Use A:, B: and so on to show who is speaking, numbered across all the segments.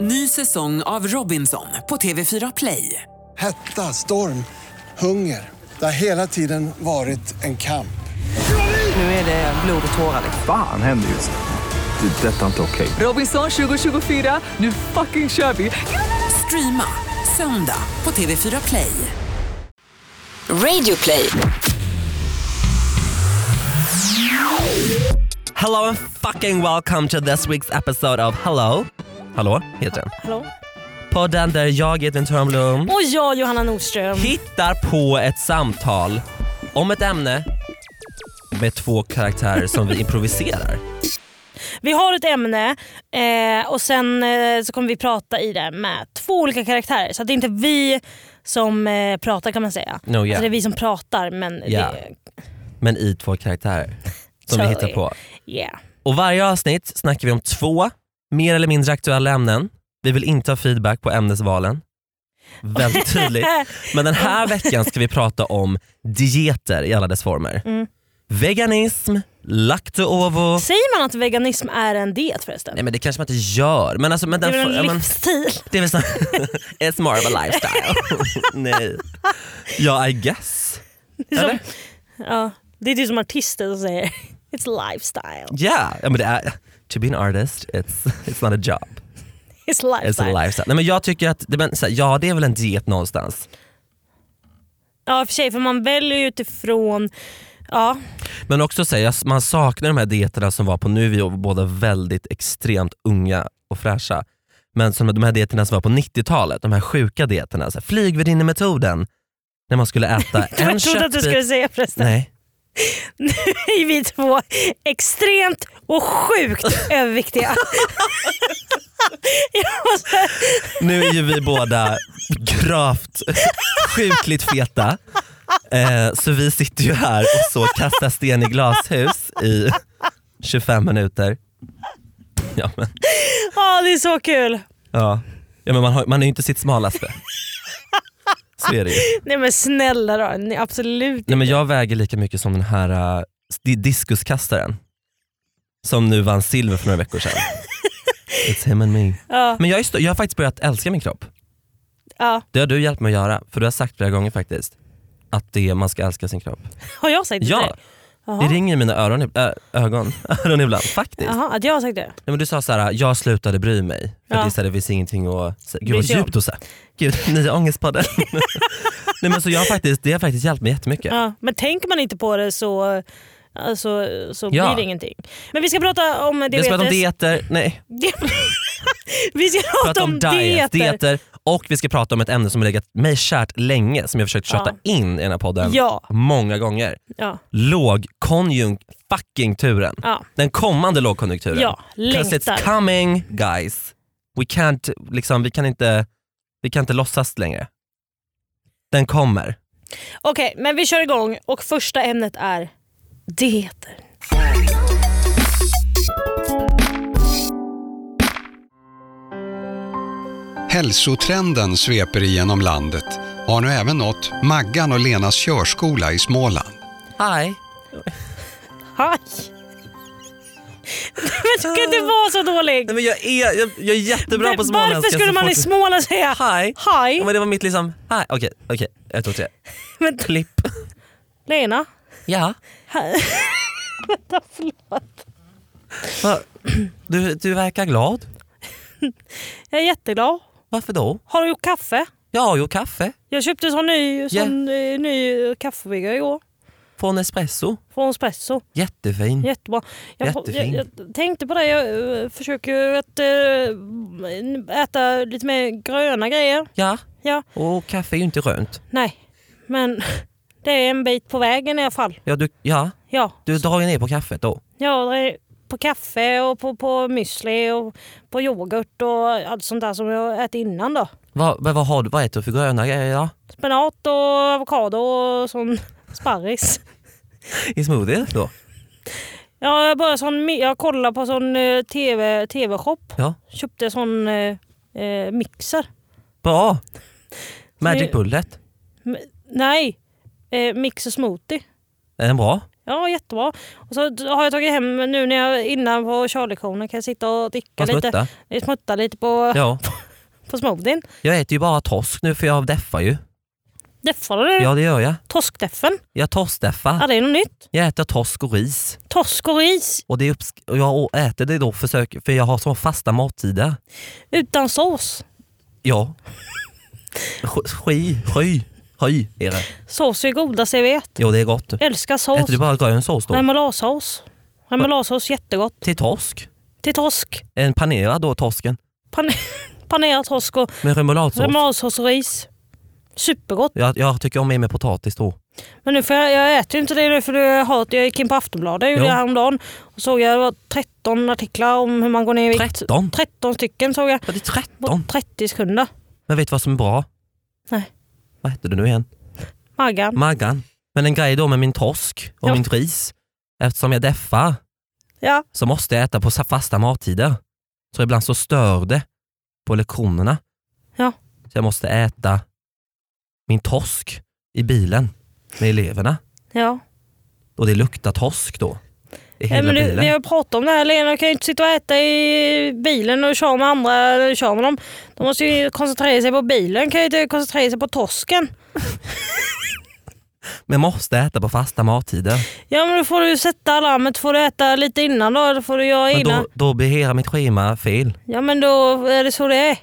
A: Ny säsong av Robinson på TV4 Play.
B: Hetta, storm, hunger. Det har hela tiden varit en kamp.
A: Nu är det blod och tårar.
C: Fan händer just nu. Det. är Detta är inte okej.
A: Robinson 2024, nu fucking kör vi! Streama söndag på TV4 Play.
D: Radio play.
E: Hello and fucking welcome to this week's episode of Hello. Hallå heter den.
F: Hallå?
E: Podden där jag, Edvin Törnblom,
F: Och jag Johanna Nordström.
E: hittar på ett samtal om ett ämne med två karaktärer som vi improviserar.
F: Vi har ett ämne eh, och sen eh, så kommer vi prata i det med två olika karaktärer. Så att det är inte vi som eh, pratar kan man säga.
E: No, yeah.
F: Alltså det är vi som pratar men
E: Ja.
F: det,
E: Men i två karaktärer som vi
F: Så
E: hittar
F: är-
E: på.
F: yeah.
E: Och varje avsnitt snackar vi om två mer eller mindre aktuella ämnen. Vi vill inte ha feedback på ämnesvalen. Väldigt tydligt.
F: Eh,
E: Men den här veckan ska vi prata om dieter i alla dess former. Veganism, lacto-ovo.
F: Säger man att veganism är en diet förresten?
E: Nej men det kanske man inte gör. Men alltså, men
F: det
E: den
F: är väl
E: for- ja,
F: en
E: men-
F: livsstil?
E: det är väl snarare, It's more of a lifestyle. Nej. Ja I guess.
F: Det är, som,
E: Eller?
F: ja, det är typ som artister som säger It's lifestyle.
E: Yeah. Ja, men det är, to be an artist it's, it's not a job.
F: It's
E: It's
F: lifestyle.
E: a lifestyle. Nej, men jag tycker att, det, men, så här, ja det är väl en diet någonstans.
F: ja i och för sig för man väljer ju utifrån Ja,
E: Men också så här, jag- man saknar de här dieterna som var på nu, vi var båda väldigt extremt unga och fräscha. Men som de här dieterna som var på 90-talet, de här sjuka dieterna, så här, flygvärdinnemetoden. När man skulle äta en
F: jag trodde att du
E: köttbit.
F: skulle säga förresten.
E: Nej.
F: är vi två extremt och sjukt överviktiga. Jag måste-
E: Nu är ju vi båda gravt, sjukligt feta. Eh, så vi sitter ju här och så kastar sten i glashus i 25 minuter. Ja, men,
F: Ja, det är så kul.
E: ja. Ja, men man, har, man är ju inte sitt smalaste. Så är det ju.
F: Nej men snälla då, Nej, absolut
E: Nej, men jag väger lika mycket som den här eh, di- diskuskastaren. Som nu vann silver för några veckor sedan. It's him and me.
F: Ja.
E: Men jag, är stå- jag har faktiskt börjat älska min kropp.
F: ja.
E: Det har du hjälpt mig att göra, för du har sagt flera gånger faktiskt att det är, man ska älska sin kropp.
F: Har jag sagt det till
E: Ja,
F: dig?
E: det ringer i mina öron, ib- ö, ögon öron ibland faktiskt.
F: Jaha, att jag har sagt det?
E: Nej, men du sa så här: jag slutade bry mig. För
F: Ja.
E: det, är så här, det finns ingenting att säga. Gud
F: Bry
E: vad
F: sig om.
E: djupt att säga. Gud, nya ångestpodden. Nej, men så jag har faktiskt, det har faktiskt hjälpt mig jättemycket.
F: Ja. Men tänker man inte på det så, alltså, så
E: Ja.
F: blir det ingenting. Men vi ska prata om
E: Vi
F: diabetes.
E: ska prata om dieter, nej,
F: vi ska
E: prata
F: prata
E: om,
F: om
E: diet,
F: dieter.
E: dieter och vi ska prata om ett ämne som har legat mig kärt länge som jag försökt tjata in i den här podden
F: Ja.
E: många gånger.
F: Ja.
E: Lågkonjunkturen.
F: Ja.
E: Den kommande lågkonjunkturen.
F: Ja,
E: 'Cause
F: längtar.
E: it's coming guys. We can't, liksom, vi kan inte, vi kan inte låtsas längre. Den kommer.
F: Okej, men vi kör igång och första ämnet är dieter.
G: Hälsotrenden sveper igenom landet och har nu även nått Maggan och Lenas körskola i Småland.
E: Hi.
F: Haj. men du kan inte vara så dålig.
E: Nej, men jag, är, jag, jag är jättebra på
F: Men
E: småländska.
F: Varför skulle
E: så
F: man
E: fort-
F: i Småland säga
E: Hi. Ja,
F: haj?
E: men det var mitt liksom, hi. Okej, okej. Ett, två, tre.
F: Men-
E: Klipp.
F: Lena?
E: Ja.
F: Vänta, förlåt.
E: Va? Du, du verkar glad.
F: Jag är jätteglad.
E: Varför då?
F: Har du gjort kaffe?
E: Jag har gjort kaffe.
F: Jag köpte en sån ny, sån, eh, ny eh, kaffebryggare igår.
E: Från Espresso.
F: Från Espresso.
E: Jättefin.
F: Jättebra. Jag, jag,
E: Jättefin.
F: jag tänkte på det, jag eh, försöker ju att eh, äta lite mer gröna grejer.
E: Ja.
F: Ja,
E: Och kaffe är ju inte rönt.
F: nej. Men det är en bit på vägen i alla fall.
E: Ja, du, ja.
F: Ja,
E: du drar ju ner på kaffet då.
F: Ja, det är på kaffe och på, på müsli och på yoghurt och allt sånt där som jag ätit innan då.
E: Vad, men vad, har du, vad äter du för gröna grejer då?
F: Spenat och avokado och sån sparris.
E: I smoothie då?
F: Ja, jag, började sån, mi- jag kollade på sån eh, TV, tv-shop.
E: Ja.
F: Köpte sån eh, eh, mixer.
E: Bra. Magic
F: är-
E: Bullet.
F: M- nej, eh, mixer smoothie.
E: Är den bra?
F: Ja, jättebra. Och så har jag tagit hem nu när jag innan på körlektionen kan jag sitta och dricka
E: Vad
F: lite.
E: smutta?
F: Smutta lite på,
E: Ja.
F: på smoothien.
E: Jag äter ju bara torsk nu för jag deffar ju.
F: Deffar du?
E: Ja det gör jag.
F: Torskdeffen?
E: Jag
F: Ja,
E: torskdeffar.
F: det är något nytt.
E: Jag äter torsk och ris.
F: Torsk och ris
E: Och, det är uppsk- och jag äter det då försök, för jag har så fasta mattider.
F: utan sås.
E: Ja. Sk- Sky, sky, sky är det.
F: Sås är godast jag vet.
E: Jo det är gott.
F: Älskar sås.
E: Äter du bara grön sås då?
F: Remouladsås. Remouladsås jättegott.
E: Till torsk?
F: Till torsk.
E: En panerad då torsken
F: Pan- panerad torsk och
E: med remouladsås.
F: remouladsås och ris. Supergott.
E: jag, jag tycker om i med potatis då.
F: Men nu får jag, jag äter ju inte det nu för jag, har, jag gick in på Aftonbladet jag gjorde
E: Jo.
F: jag häromdagen och såg jag det var 13 artiklar om hur man går ner i vikt.
E: 13?
F: 13 stycken såg jag
E: Ja, det är
F: på
E: 13.
F: 30 sekunder.
E: Men vet du vad som är bra?
F: Nej.
E: Vad heter det nu igen?
F: Maggan.
E: Maggan. Men en grej då med min torsk och
F: Ja.
E: min ris. Eftersom jag deffar
F: Ja.
E: så måste jag äta på sa- fasta mattider. Så ibland så stör det på lektionerna.
F: Ja.
E: Så jag måste äta min torsk i bilen med eleverna.
F: ja.
E: Och det luktar torsk då. I
F: Nej,
E: hela
F: men du,
E: bilen.
F: vi har ju pratat om det här Lena, jag kan ju inte sitta och äta i bilen och köra med andra. Eller köra med dem. De måste ju koncentrera sig på bilen, kan ju inte koncentrera sig på torsken.
E: Men måste äta på fasta mattider.
F: Ja men då får du sätta alarmet, får du äta lite innan då, eller får du göra
E: Men
F: innan.
E: då, då blir hela mitt schema fel.
F: Ja men då är det så det är.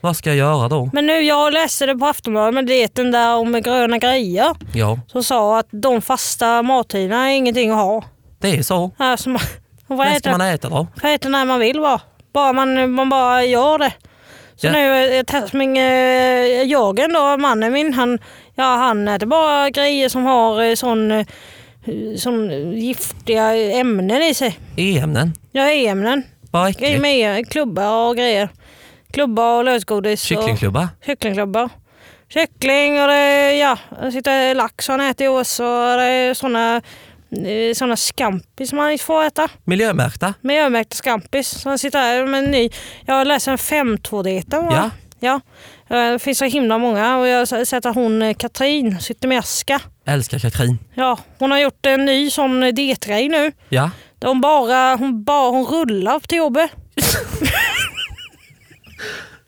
E: Vad ska jag göra då?
F: Men nu, jag läste det på Aftonbladet, men det är den där om gröna grejer.
E: Ja,
F: Som sa att de fasta mattiderna är ingenting att ha.
E: det är så.
F: Alltså, man, vad
E: Vad ska
F: äter
E: man
F: man
E: äta då?
F: får äta när man vill bara. Bara man, man bara gör det. Så
E: Ja.
F: nu eh, Tasmin, eh, Jörgen då, mannen min, han, ja, han äter bara grejer som har eh, sån, eh, sån giftiga ämnen i sig.
E: E-ämnen.
F: Ja, ämnen.
E: Vad
F: Grejer
E: äckligt.
F: med E klubbar och grejer. Klubbar och lösgodis. och-
E: Kycklingklubba.
F: kycklingklubbar. Kyckling och det, ja, det sitter lax han äter i oss och det är såna, eh, såna scampis som han inte får äta.
E: Miljömärkta.
F: Miljömärkta scampis. Så han sitter här med en ny. Jag läser en 5.2-dieten.
E: Ja.
F: ja. Eh, Det finns så himla många och jag har sett att hon eh, Katrin sitter med aska.
E: Älskar Katrin.
F: Ja, hon har gjort en ny sån eh, dietgrej nu.
E: Ja.
F: Där Hon bara, hon bara hon rullar till jobbet.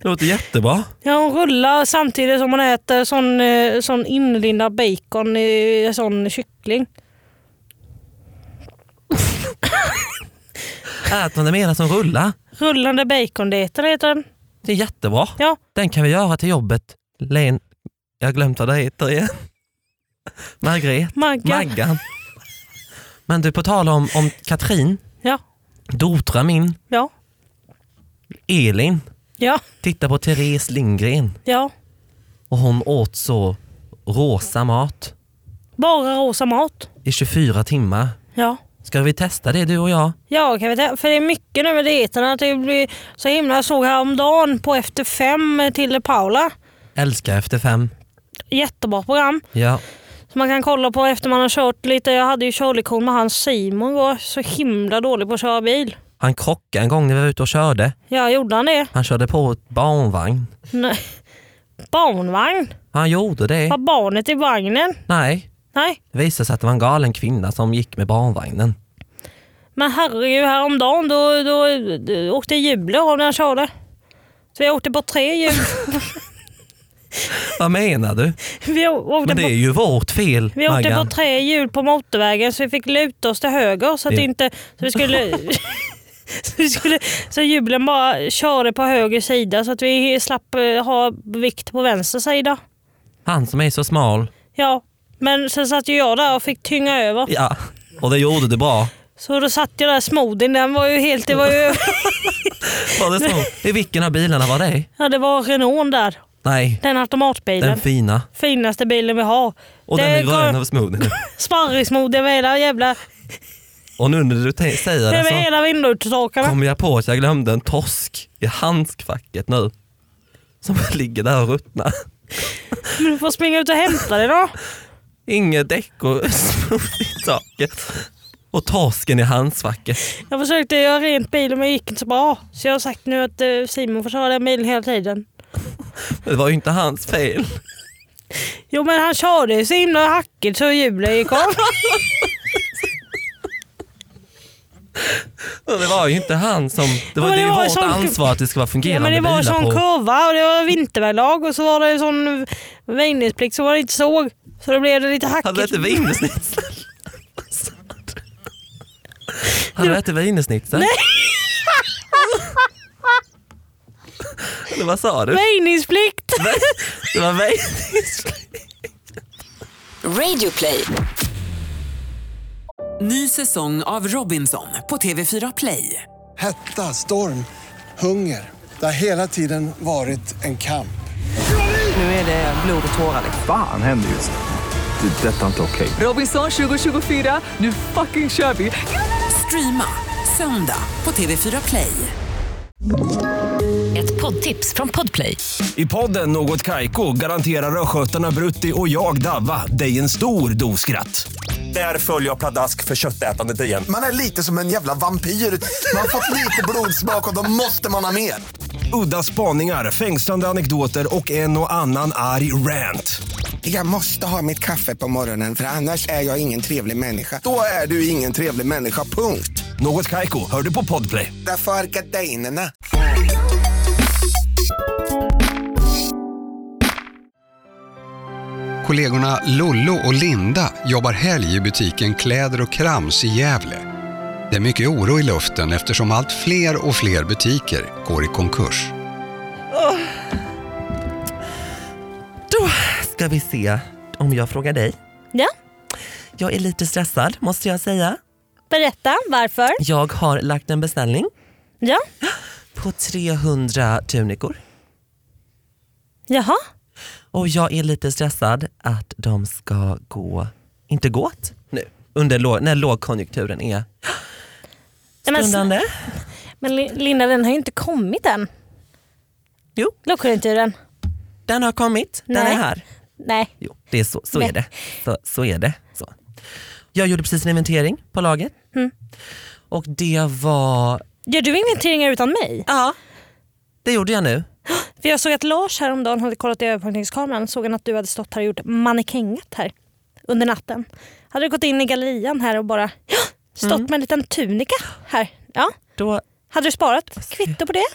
E: Det låter jättebra.
F: Ja, hon rullar samtidigt som hon äter sån, eh, sån inlindad bacon i eh, sån kyckling.
E: Äter man det mera som rullar.
F: Rullande bacondieten heter den.
E: Det är jättebra.
F: Ja.
E: Den kan vi göra till jobbet. Len... Jag har glömt vad det heter igen. Margret.
F: Maggan.
E: Maggan. Men du, på tal om, om Katrin.
F: Ja.
E: Dotra min.
F: Ja.
E: Elin.
F: Ja.
E: Titta på Therese Lindgren.
F: Ja.
E: Och hon åt så rosa mat
F: Bara rosa mat.
E: i 24 timmar.
F: Ja.
E: Ska vi testa det du och jag?
F: Ja, kan vi ta- för det är mycket nu med dieterna. att Det blir så himla... Jag såg häromdagen på Efter fem till Paula.
E: Älskar efter fem.
F: Jättebra program
E: Ja.
F: som man kan kolla på efter man har kört lite. Jag hade ju körlektion med han Simon igår. Så himla dålig på att köra bil.
E: Han krockade en gång när vi var ute och körde.
F: Ja, gjorde han det?
E: Han körde på ett barnvagn.
F: Nej. Barnvagn?
E: Han gjorde det.
F: Har barnet i vagnen?
E: Nej,
F: Nej.
E: det visade sig att det var en galen kvinna som gick med barnvagnen.
F: Men herregud, häromdagen då, då, då åkte hjulet av när jag körde. Så jag åkte på tre hjul.
E: Vad menar du?
F: Vi å- åkte,
E: Men det är
F: på,
E: ju vårt fel,
F: vi åkte på
E: Maggan.
F: tre hjul på motorvägen så vi fick luta oss till höger så att
E: Det-
F: inte... Så vi skulle... Så, vi skulle, så hjulen bara körde på höger sida så att vi slapp eh, ha vikt på vänster sida.
E: Han som är så smal.
F: Ja, men sen satt ju jag där och fick tynga över.
E: Ja, och det gjorde du bra.
F: Så då satt jag där, smoothien den var ju helt... Det var ju,
E: Var det så? I vilken av bilarna var det?
F: ja, det var Renault där.
E: Nej,
F: Den automatbilen.
E: den fina.
F: finaste bilen vi har.
E: Och
F: det
E: den är grön
F: går-
E: över smoothien.
F: Sparrismod över hela jävla...
E: Och nu när du te- säger
F: Över
E: det
F: hela
E: så
F: vindrutetorkarna.
E: kommer jag på att jag glömde en torsk i handskfacket nu. Som ligger där och ruttnar.
F: Men Du får springa ut och hämta det då.
E: Inget däck och smooth i taket. Och torsken i handskfacket.
F: Jag försökte göra rent bilen men det gick inte så bra. Så jag har sagt nu att eh, Simon får köra den bilen hela tiden.
E: Det var ju inte hans fel.
F: Jo men han körde ju så himla hackigt så hjulet gick av.
E: Det var ju inte han som... Det var,
F: Men
E: det
F: det
E: är ju
F: var
E: vårt
F: sån-
E: ansvar att det ska vara
F: Ja,
E: fungerande
F: men det var
E: bilar
F: sån
E: på...
F: kurva och det var vinterväglag och så var det sån väjningsplikt så var det inte såg. Så då blev det lite hackigt.
E: Hade du ätit wienersnitzel? Hade du ätit wienersnitzel? Nej! Eller vad sa du?
F: Väjningsplikt!
E: Det var wienersnitzel.
D: Radio play.
A: Ny säsong av Robinson på TV4 Play.
B: Hetta, storm, hunger. Det har hela tiden varit en kamp.
H: Nu är det blod och tårar.
C: Fan händer just det. Det är detta inte okej.
A: Robinson 2024, nu fucking kör vi! Streama söndag på TV4 Play.
D: Ett poddtips från Podplay.
I: I podden Något Kaiko garanterar östgötarna Brutti och jag, Davva, dig en stor dos skratt. Där följer jag pladask för köttätandet igen.
J: Man är lite som en jävla vampyr. Man har fått lite blodsmak och då måste man ha mer.
I: Udda spaningar, fängslande anekdoter och en och annan arg rant.
J: Jag måste ha mitt kaffe på morgonen för annars är jag ingen trevlig människa. Då är du ingen trevlig människa, punkt.
I: Något Kaiko, hör du på Podplay.
J: Därför är gardinerna.
G: Kollegorna Lollo och Linda jobbar helg i butiken Kläder och Krams i Gävle. Det är mycket oro i luften eftersom allt fler och fler butiker går i konkurs.
E: Då ska vi se om jag frågar dig.
F: Ja,
E: Jag är lite stressad måste jag säga.
F: berätta varför.
E: Jag har lagt en beställning
F: Ja,
E: på 300 tunikor
F: jaha.
E: och jag är lite stressad att de ska gå, inte gå åt nu under låg, när lågkonjunkturen är
F: Ja, men,
E: stundande.
F: men Li- Linda den har ju inte kommit än.
E: Jo.
F: Lågkonjunkturen.
E: Den har kommit, den
F: Nej.
E: är här.
F: Nej.
E: Jo, det är så, så
F: Nej.
E: är det. Så, så är det. Så. Jag gjorde precis en inventering på laget
F: Mm.
E: och det var,
F: Gör du inventeringar utan mig?
E: ja det gjorde jag nu.
F: För jag såg att Lars häromdagen hade kollat i övervakningskameran såg han att du hade stått här och gjort mannekänget här under natten. Hade du gått in i gallerian här och bara ja, stått
E: Mm.
F: med en liten tunika här. Ja.
E: Då,
F: Hade du sparat kvitto på det?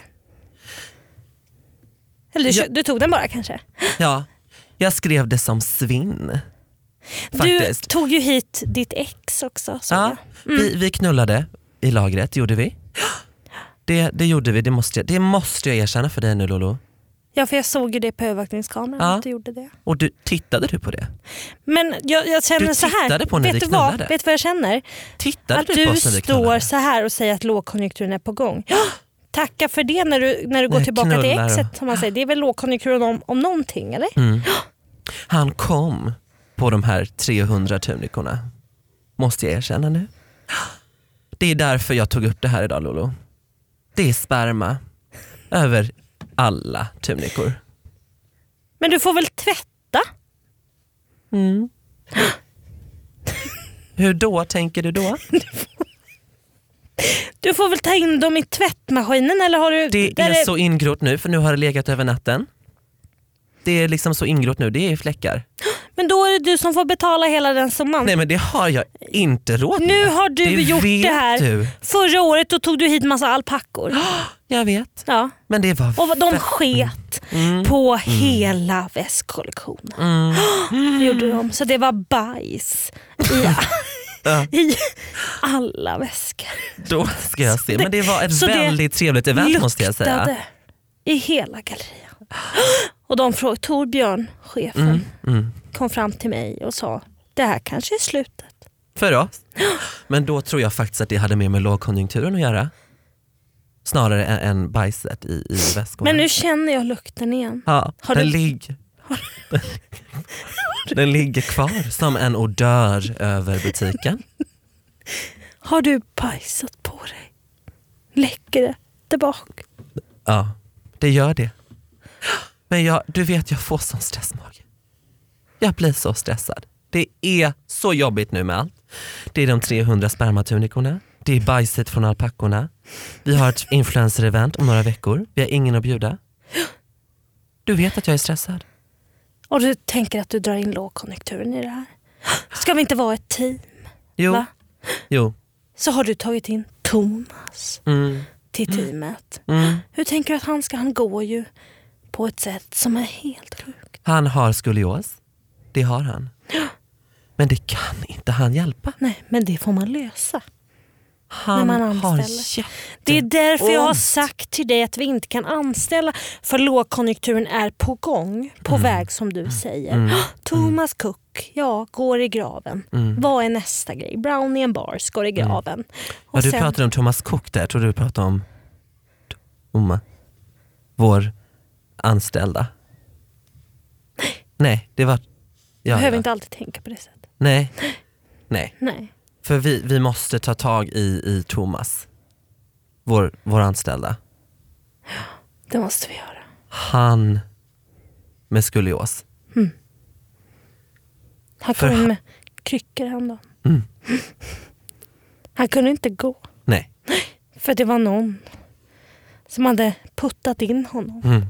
F: Eller du,
E: Ja.
F: du tog den bara kanske?
E: ja, jag skrev det som svinn.
F: Du
E: Faktiskt.
F: tog ju hit ditt ex också. såg
E: Ja,
F: jag.
E: vi, vi knullade i lagret, gjorde vi. Det, det gjorde vi, det måste, jag, det måste jag erkänna för dig nu Lolo.
F: ja, för jag såg ju det på övervakningskameran
E: Ja.
F: att du gjorde det.
E: Och du, tittade du på det?
F: Men jag, jag känner
E: Du
F: så här.
E: tittade på när vi
F: vet, du vad,
E: knullade.
F: vet du vad jag känner?
E: Tittade
F: att
E: du på
F: du
E: oss när vi knullade?
F: står så här och säger att lågkonjunkturen är på gång. Ja, Tacka för det när du, när du går
E: Nej,
F: tillbaka till
E: knullar Mm. och-
F: exet. Som man säger. Det är väl lågkonjunkturen om, om någonting eller?
E: Han kom på de här 300 tunikorna. Måste jag erkänna nu. Det är därför jag tog upp det här idag Lolo. Det är sperma över alla tunikor.
F: Men du får väl tvätta?
E: Hur då tänker du då?
F: Du får väl ta in dem i tvättmaskinen eller har du...
E: Det
F: där
E: är så ingrott nu för nu har det legat över natten. Det är liksom så ingrott nu, det är fläckar.
F: Men då är det du som får betala hela den summan.
E: Nej men det har jag inte råd med.
F: Nu har du
E: det
F: gjort
E: vet
F: det här.
E: Du.
F: Förra året då tog du hit massa alpackor.
E: Jag vet.
F: Ja.
E: Men det var
F: Och de
E: fett-
F: sket
E: Mm.
F: på hela västkollektionen.
E: Mm.
F: Det gjorde de. Så det var bajs i, i alla väskor.
E: Då ska jag se. Men det var ett
F: Så det
E: väldigt trevligt event måste jag säga.
F: Luktade i hela gallerian. Och de frågade, Torbjörn, chefen,
E: Mm,
F: kom fram till mig och sa det här kanske är slutet.
E: För oss. Men då tror jag faktiskt att det hade mer med lågkonjunkturen att göra. Snarare ä- än bajset i, i väskorna.
F: Men nu känner jag lukten igen.
E: ja,
F: har
E: den,
F: du-
E: ligger, den ligger kvar som en odör över butiken.
F: Har du bajsat på dig? Läcker det tillbaka?
E: Ja, det gör det. Men jag, du vet, jag får sån stressmage. Jag blir så stressad. Det är så jobbigt nu med allt. Det är de 300 spermatunikorna, det är bajset från alpackorna, vi har ett influencer-event om några veckor, vi har ingen att bjuda. Du vet att jag är stressad.
F: Och du tänker att du drar in lågkonjunkturen i det här? Ska vi inte vara ett team?
E: Jo,
F: Va?
E: jo
F: Så har du tagit in Thomas
E: Mm.
F: till teamet.
E: Mm.
F: Hur tänker du att han ska? Han går ju på ett sätt som är helt sjukt.
E: Han har skolios. Det har han. Men det kan inte han hjälpa.
F: Nej, men det får man lösa.
E: Han
F: man
E: har
F: anställer.
E: jätte-
F: Det är därför jag har
E: ont.
F: sagt till dig att vi inte kan anställa för lågkonjunkturen är på gång, på
E: Mm.
F: väg som du säger. Ah, Thomas Cook, ja, går i graven. Vad är nästa grej? Brownie and Bars går i graven.
E: Mm. Ja,
F: Och
E: du
F: sen-
E: pratade om Thomas Cook där, jag trodde du pratade om Oma. Vår anställda. Nej, det var...
F: Jag
E: Ja,
F: behöver
E: ja.
F: inte alltid tänka på det sättet.
E: Nej. Nej,
F: Nej.
E: för vi, vi måste ta tag i, i Thomas. Vår, vår anställda.
F: Det måste vi göra.
E: Han med skolios.
F: Han
E: För Mm.
F: kom
E: han-
F: med kryckor häromdagen. Han kunde inte gå.
E: Nej.
F: För det var någon som hade puttat in honom
E: Mm.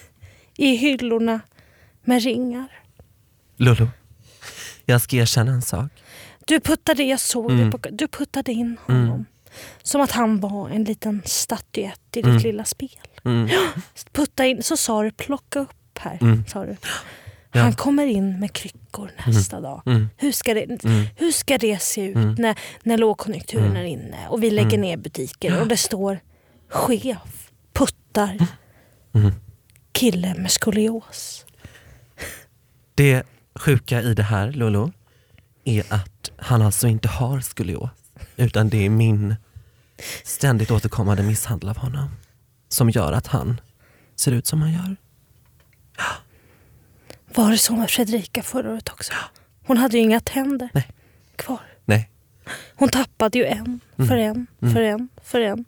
F: i hyllorna med ringar.
E: Lulu, jag ska erkänna en sak.
F: Du puttade, jag såg
E: Mm.
F: det på, du puttade in honom. Som att han var en liten statyett i ditt lilla spel.
E: Mm.
F: Putta in, så sa du plocka upp här. Sa du.
E: Ja.
F: Han kommer in med kryckor nästa dag.
E: Mm. Mm.
F: Hur, ska det, hur ska det se ut när, när lågkonjunkturen är inne och vi lägger ner butiker och det står chef puttar
E: Mm.
F: kille med skolios.
E: Det sjuka i det här, Lolo, är att han alltså inte har skolios. Utan det är min ständigt återkommande misshandel av honom som gör att han ser ut som han gör.
F: Var det så med Fredrika förra året också? Hon hade ju inga tänder
E: Nej.
F: kvar.
E: Nej.
F: Hon tappade ju en för
E: Mm.
F: en för en för en.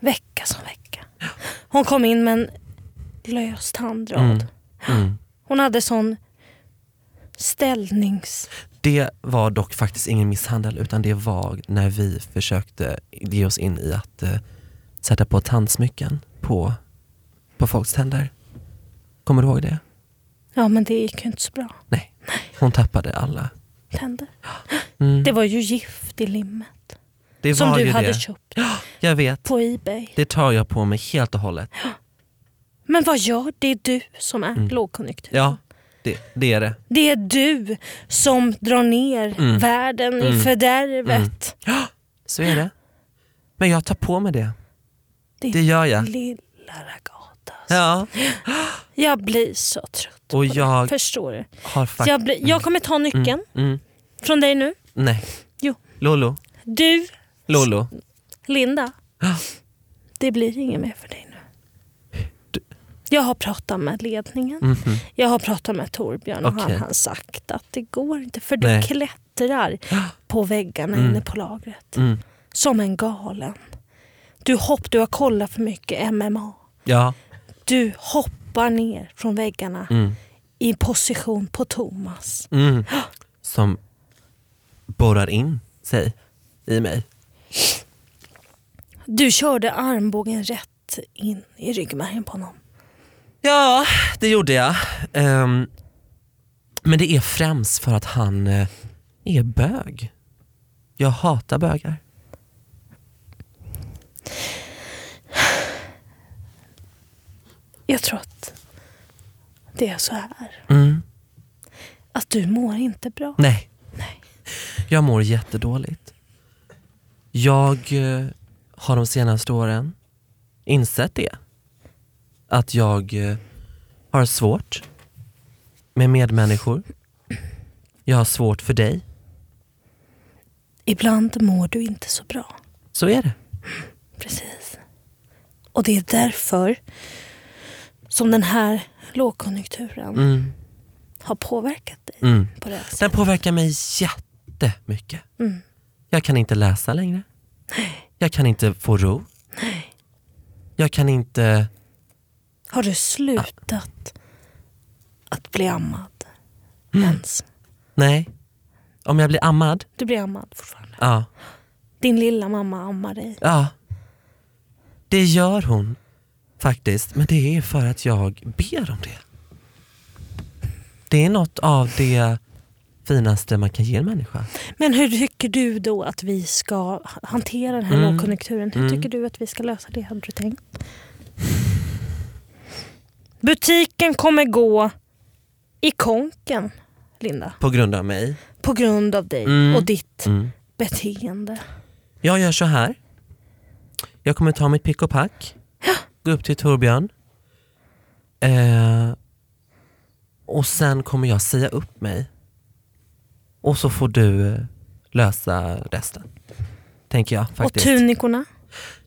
F: Vecka som vecka. Hon kom in med en lös tandrad.
E: Mm.
F: Hon hade sån ställnings...
E: Det var dock faktiskt ingen misshandel utan det var när vi försökte ge oss in i att eh, sätta på tandsmycken på, på folks tänder. Kommer du ihåg det?
F: Ja men det gick ju inte så bra.
E: Nej. Hon tappade alla.
F: Tänder.
E: Mm.
F: Det var ju gift i limmet.
E: Det
F: Som
E: var
F: du
E: ju
F: hade
E: det.
F: köpt
E: Jag vet.
F: på Ebay.
E: Det tar jag på mig helt och hållet.
F: Men vad gör det? är du som är lågkonjunktur.
E: Mm. Ja, det, det är det.
F: Det är du som drar ner
E: Mm.
F: världen i fördärvet.
E: Så är det. Men jag tar på mig det.
F: Ditt
E: Det gör jag.
F: lilla Ragata.
E: Ja.
F: Jag blir så trött.
E: Och jag
F: Förstår du?
E: har faktiskt...
F: Jag, blir, jag kommer ta nyckeln
E: Mm.
F: från dig nu.
E: Nej.
F: Jo.
E: Lolo,
F: Du,
E: Lolo.
F: Linda. Det blir inget mer för dig nu. Jag har pratat med ledningen. Jag har pratat med Torbjörn och
E: Mhm. Okej.
F: han har sagt att det går inte för du
E: Nej.
F: klättrar på väggarna inne på lagret.
E: Mm.
F: Som en galen. Du, hopp, du har kollat för mycket MMA.
E: Ja.
F: Du hoppar ner från väggarna
E: Mm.
F: i position på Thomas.
E: Mm. Som borrar in sig i mig.
F: Du körde armbågen rätt in i ryggmärgen på honom.
E: Ja, det gjorde jag. Ehm, men det är främst för att han eh, är bög. Jag hatar bögar.
F: Jag tror att det är så här.
E: Mm.
F: Att du mår inte bra.
E: Nej. Jag mår jättedåligt. Jag eh, har de senaste åren insett det. Att jag eh, har svårt med medmänniskor. Jag har svårt för dig.
F: Ibland mår du inte så bra.
E: Så är det.
F: Precis. Och det är därför som den här lågkonjunkturen
E: Mm.
F: har påverkat dig
E: Mm.
F: på det här sättet.
E: Den påverkar mig jättemycket. Jag kan inte läsa längre. Jag kan inte få ro. Jag kan inte...
F: Har du slutat att bli ammad
E: Mm.
F: ens?
E: Nej. Om jag blir ammad?
F: Du blir ammad fortfarande.
E: Ja.
F: Din lilla mamma ammar dig.
E: Ja. Det gör hon faktiskt. Men det är för att jag ber om det. Det är något av det finaste man kan ge en människa.
F: Men hur tycker du då att vi ska hantera den här
E: Mm.
F: lågkonjunkturen? Hur
E: Mm.
F: tycker du att vi ska lösa det? Hade du tänkt? Butiken kommer gå i konken, Linda.
E: På grund av mig.
F: På grund av dig
E: Mm.
F: och ditt
E: Mm.
F: beteende.
E: Jag gör så här. Jag kommer ta mitt pick och pack, gå upp till Torbjörn eh, och sen kommer jag säga upp mig. Och så får du eh, lösa resten. Tänker jag faktiskt.
F: Och tunikorna.